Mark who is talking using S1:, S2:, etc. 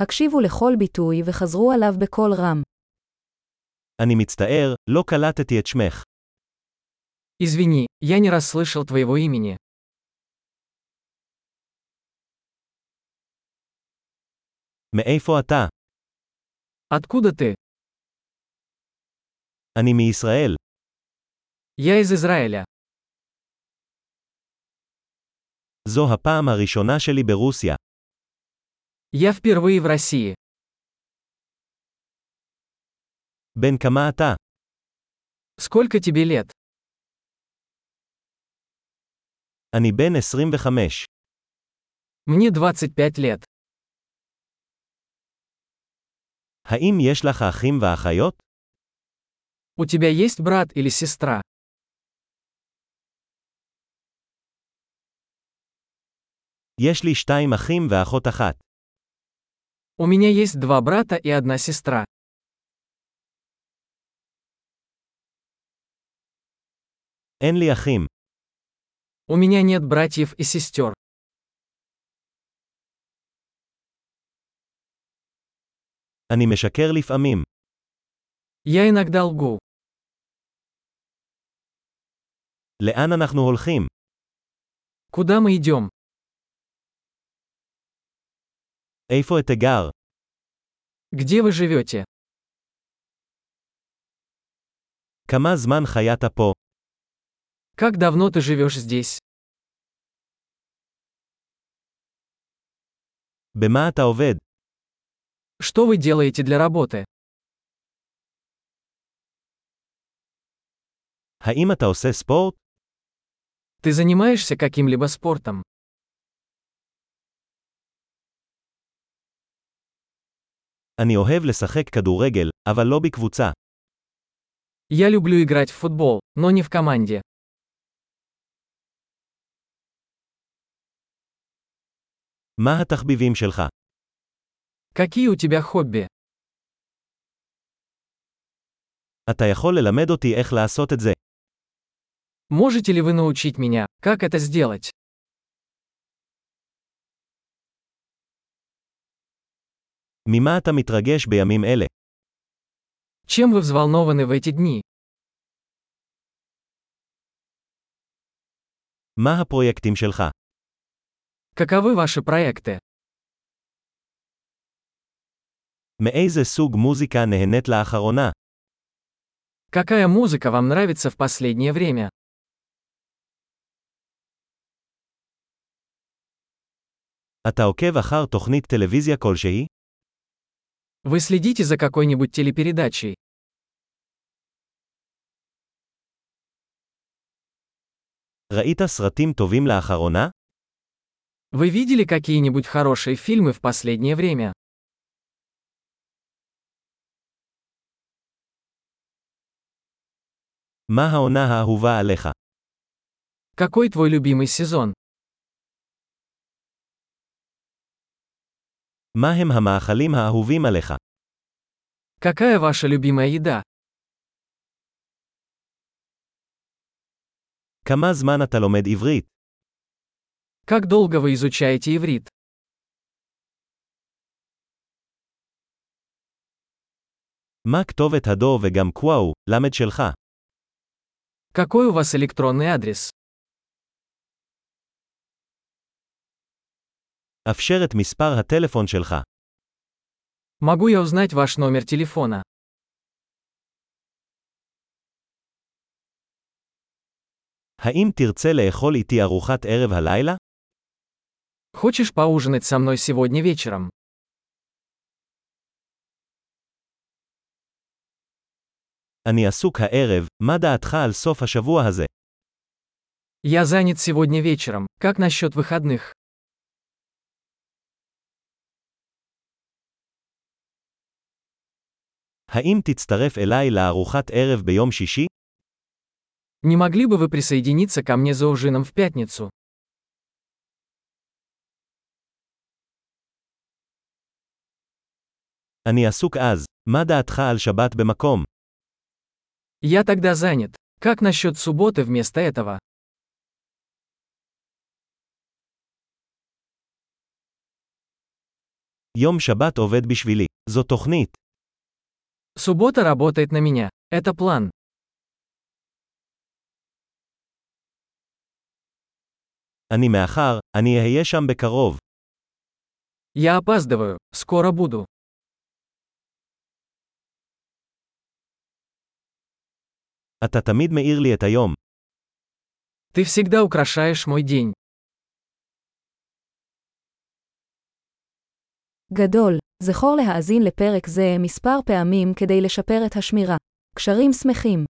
S1: הקשיבו לכל ביטוי וחזרו עליו בקול רם.
S2: אני מצטער, לא קלטתי את שמך.
S3: Извини, я не расслышал твоего имени.
S2: מאיפה אתה?
S3: Откуда ты?
S2: אני מישראל.
S3: Я из Израиля.
S2: זו הפעם הראשונה שלי ברוסיה.
S3: Я впервые в России.
S2: בן כמה אתה?
S3: Сколько тебе лет?
S2: אני בן 25.
S3: Мне 25 лет.
S2: האם יש לך אחים ואחיות?
S3: У тебя есть брат или сестра?
S2: יש לי שתיים אחים ואחות אחת.
S3: У меня есть два брата и одна сестра.
S2: אין לי אחים.
S3: У меня нет братьев и сестер.
S2: אני משקר לפעמים.
S3: Я иногда лгу.
S2: לאן אנחנו הולכים?
S3: Куда мы идем?
S2: איפה את הגר?
S3: Где вы живете?
S2: כמה זמן חיית פה?
S3: Как давно ты живешь здесь?
S2: במה אתה עובד?
S3: Что вы делаете для работы?
S2: האם אתה עושה ספורט?
S3: Ты занимаешься каким-либо спортом?
S2: אני אוהב לשחק כדורגל, אבל לא בקבוצה.
S3: Я люблю играть в футбол, но не в команде.
S2: מה התחביבים שלך?
S3: Какие у тебя хобби?
S2: אתה יכול ללמד אותי איך לעשות את זה.
S3: Можете ли вы научить меня, как это сделать?
S2: ממה אתה מתרגש בימים אלה?
S3: Чем вы взволнованы в эти дни?
S2: מה הפרויקטים שלך?
S3: Каковы ваши проекты?
S2: מאיזה סוג מוזיקה נהנית לאחרונה?
S3: Какая музыка вам нравится в последнее время?
S2: אתה עוקב אחר תוכנית טלוויזיה כלשהי?
S3: Вы следите за какой-нибудь телепередачей?
S2: ראית סרטים טובים לאחרונה?
S3: Вы видели какие-нибудь хорошие фильмы в последнее время?
S2: מה העונה האהובה עליך?
S3: Какой твой любимый сезон?
S2: מה הם המאכלים האהובים עליך?
S3: Какая ваша любимая еда?
S2: כמה זמן אתה לומד עברית?
S3: Как долго вы изучаете иврит?
S2: מה כתובת הדו וגם קוואו, למד שלך?
S3: Какой у вас электронный адрес?
S2: אפשר את מספר הטלפון שלך.
S3: Могу я узнать ваш номер телефона?
S2: האם תרצה לאכול איתי ארוחת ערב הלילה?
S3: Хочешь поужинать со мной сегодня вечером?
S2: אני עסוק הערב, מה דעתך על סוף השבוע הזה?
S3: Я занят сегодня вечером. Как насчет выходных?
S2: האם תצטרף אליי לארוחת ערב ביום שישי?
S3: Не могли бы вы присоединиться ко мне за ужином в пятницу?
S2: אני עסוק אז, מה דעתך על שבת במקום?
S3: Я тогда занят. Как насчет субботы вместо этого?
S2: יום שבת עובד בשבילי. זו תוכנית.
S3: Суббота работает на меня. Это план.
S2: אני מאחר, אני אהיה שם בקרוב.
S3: Я опаздываю. Скоро буду.
S2: אתה תמיד מאיר לי את היום.
S3: Ты всегда украшаешь мой день.
S1: גדול, זכור להאזין לפרק זה מספר פעמים כדי לשפר את השמירה. קשרים שמחים